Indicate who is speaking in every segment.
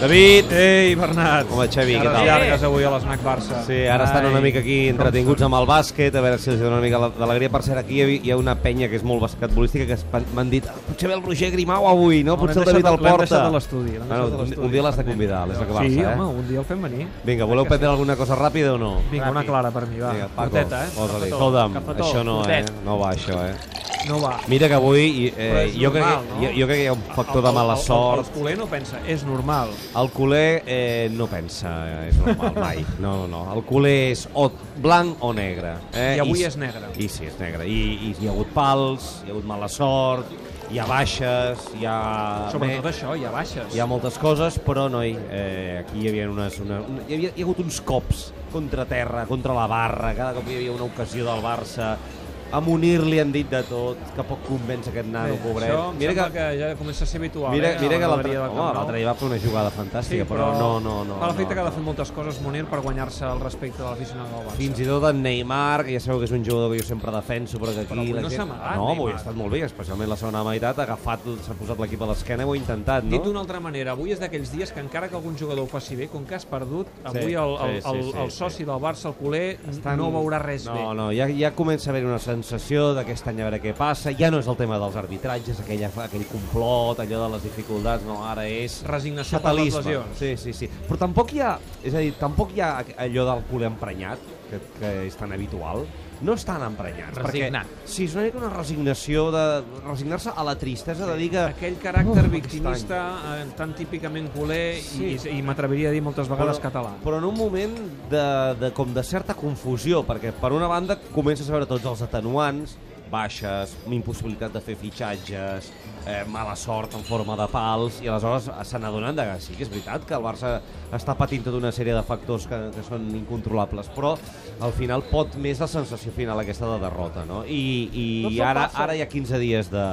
Speaker 1: David!
Speaker 2: Ei, Bernat.
Speaker 1: Home, Xevi, què
Speaker 2: Cares
Speaker 1: tal?
Speaker 2: llargues avui a l'Snac Barça.
Speaker 1: Sí, ara estan una mica aquí entretinguts amb el bàsquet, a veure si els dona una mica d'alegria. Per cert, aquí hi ha- hi ha una penya que és molt basquetbolística que es pan- m'han dit "Ah, potser ve el Roger Grimau avui, no?
Speaker 2: No,
Speaker 1: Potser el
Speaker 2: l'hem
Speaker 1: David
Speaker 2: deixat-
Speaker 1: el
Speaker 2: l'hem
Speaker 1: porta.
Speaker 2: deixat a l'estudi, l'hem
Speaker 1: Bueno,
Speaker 2: deixat a l'estudi.
Speaker 1: un dia l'has de convidar, l'has de
Speaker 2: Sí,
Speaker 1: Barça,
Speaker 2: home,
Speaker 1: eh?
Speaker 2: un dia el fem venir.
Speaker 1: Vinga, voleu prendre alguna cosa ràpida o no?
Speaker 2: Vinga, una clara per mi, va.
Speaker 1: Vinga, Paco,
Speaker 2: Corteta, eh?
Speaker 1: posa-li.
Speaker 2: Cafetó,
Speaker 1: Escolta'm,
Speaker 2: cafetó,
Speaker 1: això no, eh?
Speaker 2: curtet.
Speaker 1: No va, això, eh?
Speaker 2: No va.
Speaker 1: Mira que avui
Speaker 2: Però
Speaker 1: eh,
Speaker 2: és
Speaker 1: jo, crec,
Speaker 2: normal,
Speaker 1: que-
Speaker 2: no?
Speaker 1: jo, jo crec que hi ha un factor
Speaker 2: El-
Speaker 1: de
Speaker 2: el-
Speaker 1: mala
Speaker 2: el-
Speaker 1: sort.
Speaker 2: El, el culer no pensa, és normal.
Speaker 1: El culer eh, no pensa, eh, és normal, mai. No, no, no. El culer és o blanc o negre. Eh?
Speaker 2: I avui
Speaker 1: s-
Speaker 2: és negre.
Speaker 1: I sí, és negre. I, I hi ha hagut pals, hi ha hagut mala sort, hi ha baixes, hi ha...
Speaker 2: Sobretot això, hi ha baixes.
Speaker 1: Hi ha moltes coses, però, noi, eh, aquí hi havia unes... Una, una, hi, havia, hi ha hagut uns cops contra terra, contra la barra, cada cop hi havia una ocasió del Barça. A Munir li han dit de tot, que poc convence aquest
Speaker 2: Bé,
Speaker 1: nano, pobret.
Speaker 2: Això em
Speaker 1: Mira que,
Speaker 2: que ja comença a ser habitual.
Speaker 1: mira,
Speaker 2: eh,
Speaker 1: mira
Speaker 2: a
Speaker 1: que l'altre
Speaker 2: galeria del
Speaker 1: home,
Speaker 2: Camp Nou.
Speaker 1: l'altre dia va fer una jugada fantàstica, però, no, no, no.
Speaker 2: Fa l'efecte
Speaker 1: no,
Speaker 2: que ha
Speaker 1: no.
Speaker 2: de fer moltes coses Munir per guanyar-se el respecte de l'aficionat del Barça.
Speaker 1: Fins i tot en Neymar, que ja sabeu que és un jugador que jo sempre defenso, però que aquí...
Speaker 2: Però avui
Speaker 1: la
Speaker 2: no
Speaker 1: gent-
Speaker 2: s'ha amagat,
Speaker 1: No, avui
Speaker 2: Neymar.
Speaker 1: ha estat molt bé, especialment la segona meitat, ha agafat, s'ha posat l'equip a l'esquena i ho ha intentat,
Speaker 2: Dit
Speaker 1: no?
Speaker 2: d'una altra manera, avui és d'aquells dies que encara que algun jugador ho faci bé, com que has perdut,
Speaker 1: Sí,
Speaker 2: avui el,
Speaker 1: sí,
Speaker 2: el,
Speaker 1: sí,
Speaker 2: el, el,
Speaker 1: sí, sí.
Speaker 2: soci del Barça, el culer,
Speaker 1: Estan-
Speaker 2: no veurà res
Speaker 1: no,
Speaker 2: bé.
Speaker 1: No, ja, ja comença a haver una sensació d'aquest any a veure què passa. Ja no és el tema dels arbitratges, aquella, aquell complot, allò de les dificultats, no, ara és...
Speaker 2: Resignació per les
Speaker 1: Fatalisme.
Speaker 2: lesions.
Speaker 1: Sí, sí, sí. Però tampoc hi ha, és a dir, tampoc hi ha allò del culer emprenyat, que, que és tan habitual. No estan emprenyats.
Speaker 3: Resignat.
Speaker 1: Perquè, sí, és una mica una resignació de resignar-se a la tristesa de dir que...
Speaker 2: Aquell caràcter
Speaker 1: Uf,
Speaker 2: victimista eh, tan típicament culer i,
Speaker 1: Sí.
Speaker 2: i, i m'atreviria a dir moltes vegades català.
Speaker 1: Però en un moment de, de, com de certa confusió, perquè per una banda comences a veure tots els atenuants, baixes, impossibilitat de fer fitxatges, eh, mala sort en forma de pals, i aleshores se n'adonen de que sí que és veritat que el Barça està patint tota una sèrie de factors que, que són incontrolables, però al final pot més la sensació final aquesta de derrota, no? I, i ara, ara hi ha 15 dies de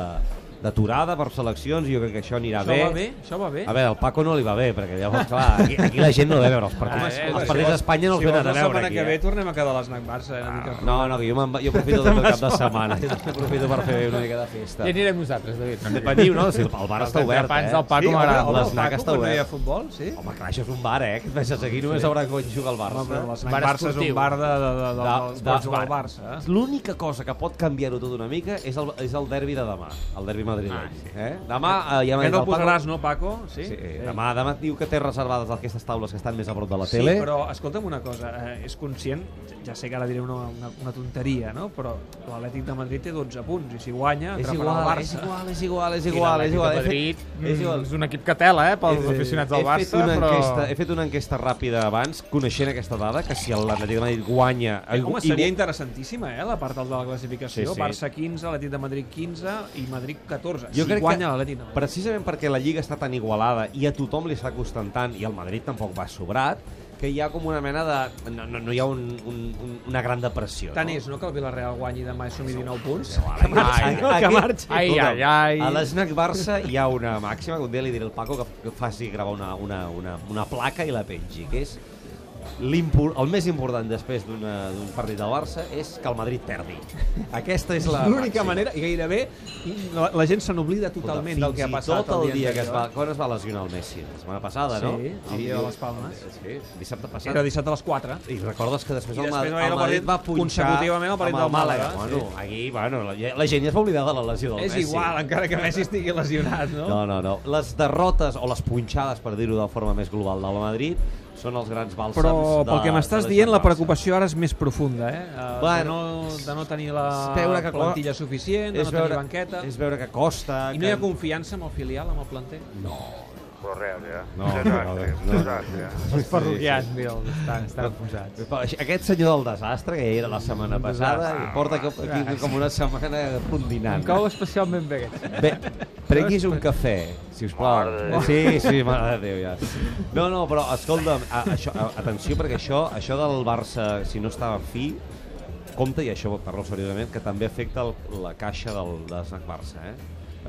Speaker 1: d'aturada per seleccions i jo crec que això anirà
Speaker 2: Això va bé? Això va bé?
Speaker 1: a veure, al Paco no li va bé, perquè llavors, clar, aquí, aquí la gent no ve a veure els partits.
Speaker 2: Ah,
Speaker 1: Ah,
Speaker 2: eh,
Speaker 1: els
Speaker 2: si
Speaker 1: partits
Speaker 2: vols-
Speaker 1: d'Espanya no els
Speaker 2: si vols
Speaker 1: venen a
Speaker 2: la
Speaker 1: veure
Speaker 2: setmana
Speaker 1: aquí.
Speaker 2: que ve
Speaker 1: Eh? Ah,
Speaker 2: tornem a quedar a l'Snac Barça. Eh, una mica.
Speaker 1: No, no, que jo, me'n va- jo aprofito tot el cap de setmana. Jo aprofito per fer una mica de festa.
Speaker 3: Ja anirem nosaltres, David.
Speaker 1: Veniu, no? Sí, el bar està obert,
Speaker 3: entrepans
Speaker 1: eh?
Speaker 3: del Paco
Speaker 1: home,
Speaker 3: m'agrada molt.
Speaker 1: L'esnac
Speaker 2: Paco,
Speaker 1: està
Speaker 2: quan no hi ha
Speaker 1: obert.
Speaker 2: futbol, sí?
Speaker 1: Home, clar, això és un bar, eh? Que et deixes aquí només haurà quan juga el
Speaker 2: Home, però
Speaker 1: Barça.
Speaker 2: l'Snac
Speaker 3: Bar
Speaker 2: Barça és un
Speaker 3: esportiu.
Speaker 2: bar de, de, de, de, dels
Speaker 1: De-
Speaker 2: bons
Speaker 1: de-
Speaker 2: del Barça. eh?
Speaker 1: L'única cosa que pot canviar-ho tot una mica és el, és el derbi de demà, el derbi madrileny.
Speaker 3: Ah, sí.
Speaker 1: eh? Demà eh, ja m'ha dit
Speaker 2: Aquest el
Speaker 1: el Paco...
Speaker 2: posaràs, no, Paco? Sí?
Speaker 1: Sí,
Speaker 2: Eh,
Speaker 1: demà, demà diu que té reservades aquestes taules que estan més a prop de la
Speaker 2: Sí,
Speaker 1: tele.
Speaker 2: però escolta'm una cosa, eh, és conscient, ja sé que ara diré una, una, una tonteria, no? però l'Atlètic de Madrid té 12 punts i si guanya
Speaker 1: És
Speaker 2: atraparà el
Speaker 1: igual, és
Speaker 2: Barça.
Speaker 1: igual, és igual, és
Speaker 3: I
Speaker 1: igual, és
Speaker 3: l'Atlètic
Speaker 1: igual.
Speaker 3: de
Speaker 1: He fet-
Speaker 3: Madrid, mm,
Speaker 1: és igual.
Speaker 3: És un equip que tela, eh, pels
Speaker 1: he-
Speaker 3: aficionats del
Speaker 1: he fet
Speaker 3: Barça,
Speaker 1: una
Speaker 3: però...
Speaker 1: Enquesta, he fet una enquesta ràpida abans, coneixent aquesta dada, que si l'Atlètic de Madrid guanya...
Speaker 2: Eh, Home, seria interessantíssima, eh, la part del de la classificació.
Speaker 1: Sí, sí.
Speaker 2: Barça 15, Atlètic de Madrid 15 i Madrid 14.
Speaker 1: Jo
Speaker 2: si
Speaker 1: crec
Speaker 2: guanya
Speaker 1: que-
Speaker 2: l'Atlètic de Madrid.
Speaker 1: Precisament perquè la Lliga està tan igualada i a tothom li està costant tant, i el Madrid tampoc va sobrat, que hi ha com una mena de... No, no, no hi ha un, un, un, una gran depressió.
Speaker 2: Tant
Speaker 1: no?
Speaker 2: és, no, que el Villarreal guanyi demà i sumi 19 punts?
Speaker 1: Que marxi,
Speaker 3: Ai,
Speaker 1: no?
Speaker 3: ai,
Speaker 1: Que
Speaker 3: ai.
Speaker 1: marxi.
Speaker 3: Ai, ai, ai.
Speaker 1: A l'esnac Barça hi ha una màxima, que un dia li diré al Paco que, que faci gravar una, una, una, una placa i la pengi, que és l'impor- el més important després d'una- d'un partit del Barça és que el Madrid perdi. Aquesta és la
Speaker 2: L'única
Speaker 1: màxima.
Speaker 2: manera, i gairebé, la, la gent se n'oblida totalment
Speaker 1: Escolta,
Speaker 2: del que ha
Speaker 1: fins i
Speaker 2: passat
Speaker 1: tot el dia que es
Speaker 2: anterior.
Speaker 1: va, quan es va lesionar el Messi? La setmana passada,
Speaker 2: Sí,
Speaker 1: no?
Speaker 2: el dia de les Palmes.
Speaker 1: Sí, dissabte passat.
Speaker 2: Era dissabte a les 4.
Speaker 1: I recordes que després,
Speaker 2: I
Speaker 1: el,
Speaker 2: després
Speaker 1: Madrid,
Speaker 2: va haver
Speaker 1: el
Speaker 2: el
Speaker 1: Madrid
Speaker 2: partit
Speaker 1: va punxar
Speaker 2: consecutivament el partit
Speaker 1: amb el
Speaker 2: del Màlaga,
Speaker 1: Màlaga. Bueno, aquí, bueno, la, la gent ja es va oblidar de la lesió del
Speaker 2: És
Speaker 1: Messi.
Speaker 2: igual, encara que Messi estigui lesionat, no?
Speaker 1: No, no, no. Les derrotes o les punxades, per dir-ho de forma més global, del Madrid són els grans bàlsams
Speaker 2: Però
Speaker 1: de,
Speaker 2: pel que m'estàs
Speaker 1: de
Speaker 2: dient, la
Speaker 1: Barça.
Speaker 2: preocupació ara és més profunda, eh? Eh,
Speaker 1: Bueno,
Speaker 2: de, no, de no tenir la
Speaker 1: és veure que cor-
Speaker 2: plantilla suficient, de no tenir banqueta...
Speaker 1: és veure que costa...
Speaker 2: I no hi ha confianza amb el filial, amb el planter?
Speaker 1: No.
Speaker 4: Correcte.
Speaker 1: No,
Speaker 4: Desastre,
Speaker 1: no, no.
Speaker 4: desastre.
Speaker 3: Els parroquians, mira, estan, estan enfonsats.
Speaker 1: Aquest senyor del desastre, que ja era la setmana passada, porta com, aquí, com una setmana
Speaker 3: Em
Speaker 1: rondinant.
Speaker 3: cau especialment bé aquest.
Speaker 1: Bé, prenguis un cafè, si us plau.
Speaker 4: Mare de Déu.
Speaker 1: Sí, sí, mare de Déu, ja. No, no, però escolta'm, a, això, a, atenció, perquè això, això del Barça, si no estava fi, compte, i això parlo seriosament, que també afecta el, la caixa del, de Snac Barça, eh?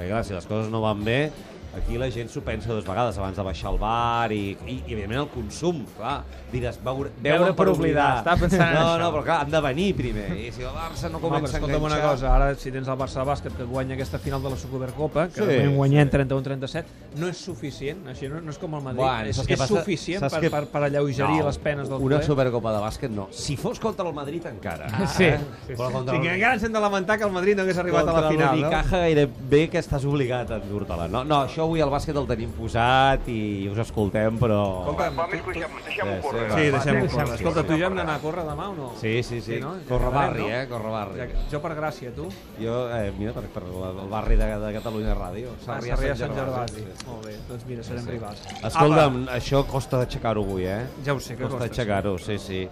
Speaker 1: Perquè clar, si les coses no van bé, Aquí la gent s'ho pensa dues vegades abans de baixar al bar i, i, i evidentment, el consum, clar. Diràs, veure,
Speaker 3: Beure
Speaker 1: beure
Speaker 3: per
Speaker 1: per oblidar.
Speaker 3: oblidar. Estava pensant en
Speaker 1: no,
Speaker 3: això.
Speaker 1: No, però clar, han de venir primer. I si el Barça no
Speaker 2: Home, però
Speaker 1: comença a
Speaker 2: escolta'm una
Speaker 1: enganxar...
Speaker 2: cosa, ara si tens el Barça de bàsquet que guanya aquesta final de la Supercopa, que
Speaker 1: Sí,
Speaker 2: sí, moment guanyem
Speaker 1: sí.
Speaker 2: 31-37, no és suficient, així no, no és com el Madrid,
Speaker 1: Bueno,
Speaker 2: bueno, és,
Speaker 1: saps què
Speaker 2: és
Speaker 1: passa?
Speaker 2: suficient
Speaker 1: Saps
Speaker 2: per,
Speaker 1: què-
Speaker 2: per, per alleugerir no, les penes del eh?
Speaker 1: Una
Speaker 2: poder.
Speaker 1: Supercopa de bàsquet, no. Si fos contra el Madrid, encara.
Speaker 3: Ah, sí,
Speaker 1: eh?
Speaker 3: sí,
Speaker 1: Però
Speaker 3: sí.
Speaker 1: contra
Speaker 2: Sí, que encara ens hem de lamentar que el Madrid no hagués arribat a
Speaker 1: Contra
Speaker 2: la final, no?
Speaker 1: l'Unicaja gairebé que estàs obligat a endur-te-la. No, no, això avui el bàsquet el tenim posat i us escoltem, però...
Speaker 2: Escolta'm,
Speaker 4: Vamos, escuchamos, deixem-ho
Speaker 1: Sí,
Speaker 4: córrer.
Speaker 1: sí,
Speaker 2: Sí,
Speaker 1: va,
Speaker 2: deixem-ho
Speaker 1: deixem-ho
Speaker 2: córrer. Escolta, tu i jo hem d'anar a córrer demà o no?
Speaker 1: Sí, sí, sí.
Speaker 2: Sí, no?
Speaker 1: Corre barri,
Speaker 2: Ja,
Speaker 1: eh? Corre barri.
Speaker 2: Ja, jo per gràcia, tu? Ah,
Speaker 1: Jo, eh, mira, per, per la- el barri de, de Catalunya Ràdio.
Speaker 2: Ah,
Speaker 1: Sarrià,
Speaker 2: Sarrià
Speaker 1: Sant
Speaker 2: Sant
Speaker 1: Gervasi.
Speaker 2: Gervasi. Molt bé, doncs mira, serem rivals.
Speaker 1: Escolta'm, això costa d'aixecar-ho avui, eh?
Speaker 2: Ja ho sé, que
Speaker 1: costa
Speaker 2: costa.
Speaker 1: aixecar-ho, sí, sí.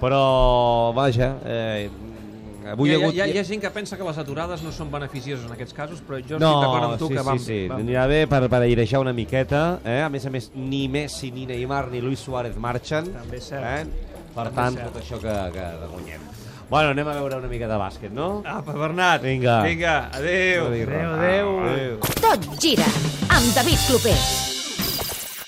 Speaker 1: Però, vaja, eh, avui
Speaker 2: Hi ha,
Speaker 1: hi ha hagut...
Speaker 2: hi, ha, hi ha gent que pensa que les aturades no són beneficioses en aquests casos, però jo
Speaker 1: No,
Speaker 2: estic d'acord amb tu
Speaker 1: sí,
Speaker 2: que
Speaker 1: sí,
Speaker 2: vam...
Speaker 1: sí.
Speaker 2: vam-
Speaker 1: Anirà bé per, per airejar una miqueta. Eh? A més a més, ni Messi, ni Neymar, ni Luis Suárez marxen.
Speaker 2: També és cert.
Speaker 1: Eh? Per
Speaker 2: També és
Speaker 1: tant,
Speaker 2: cert.
Speaker 1: tot això que, que guanyem. Bueno, anem a veure una mica de bàsquet, no?
Speaker 2: Apa, Ah, Bernat.
Speaker 1: Vinga.
Speaker 2: Vinga, adéu.
Speaker 1: No dir res.
Speaker 3: Adéu, adéu.
Speaker 1: Adéu.
Speaker 5: Tot gira amb David Clopés.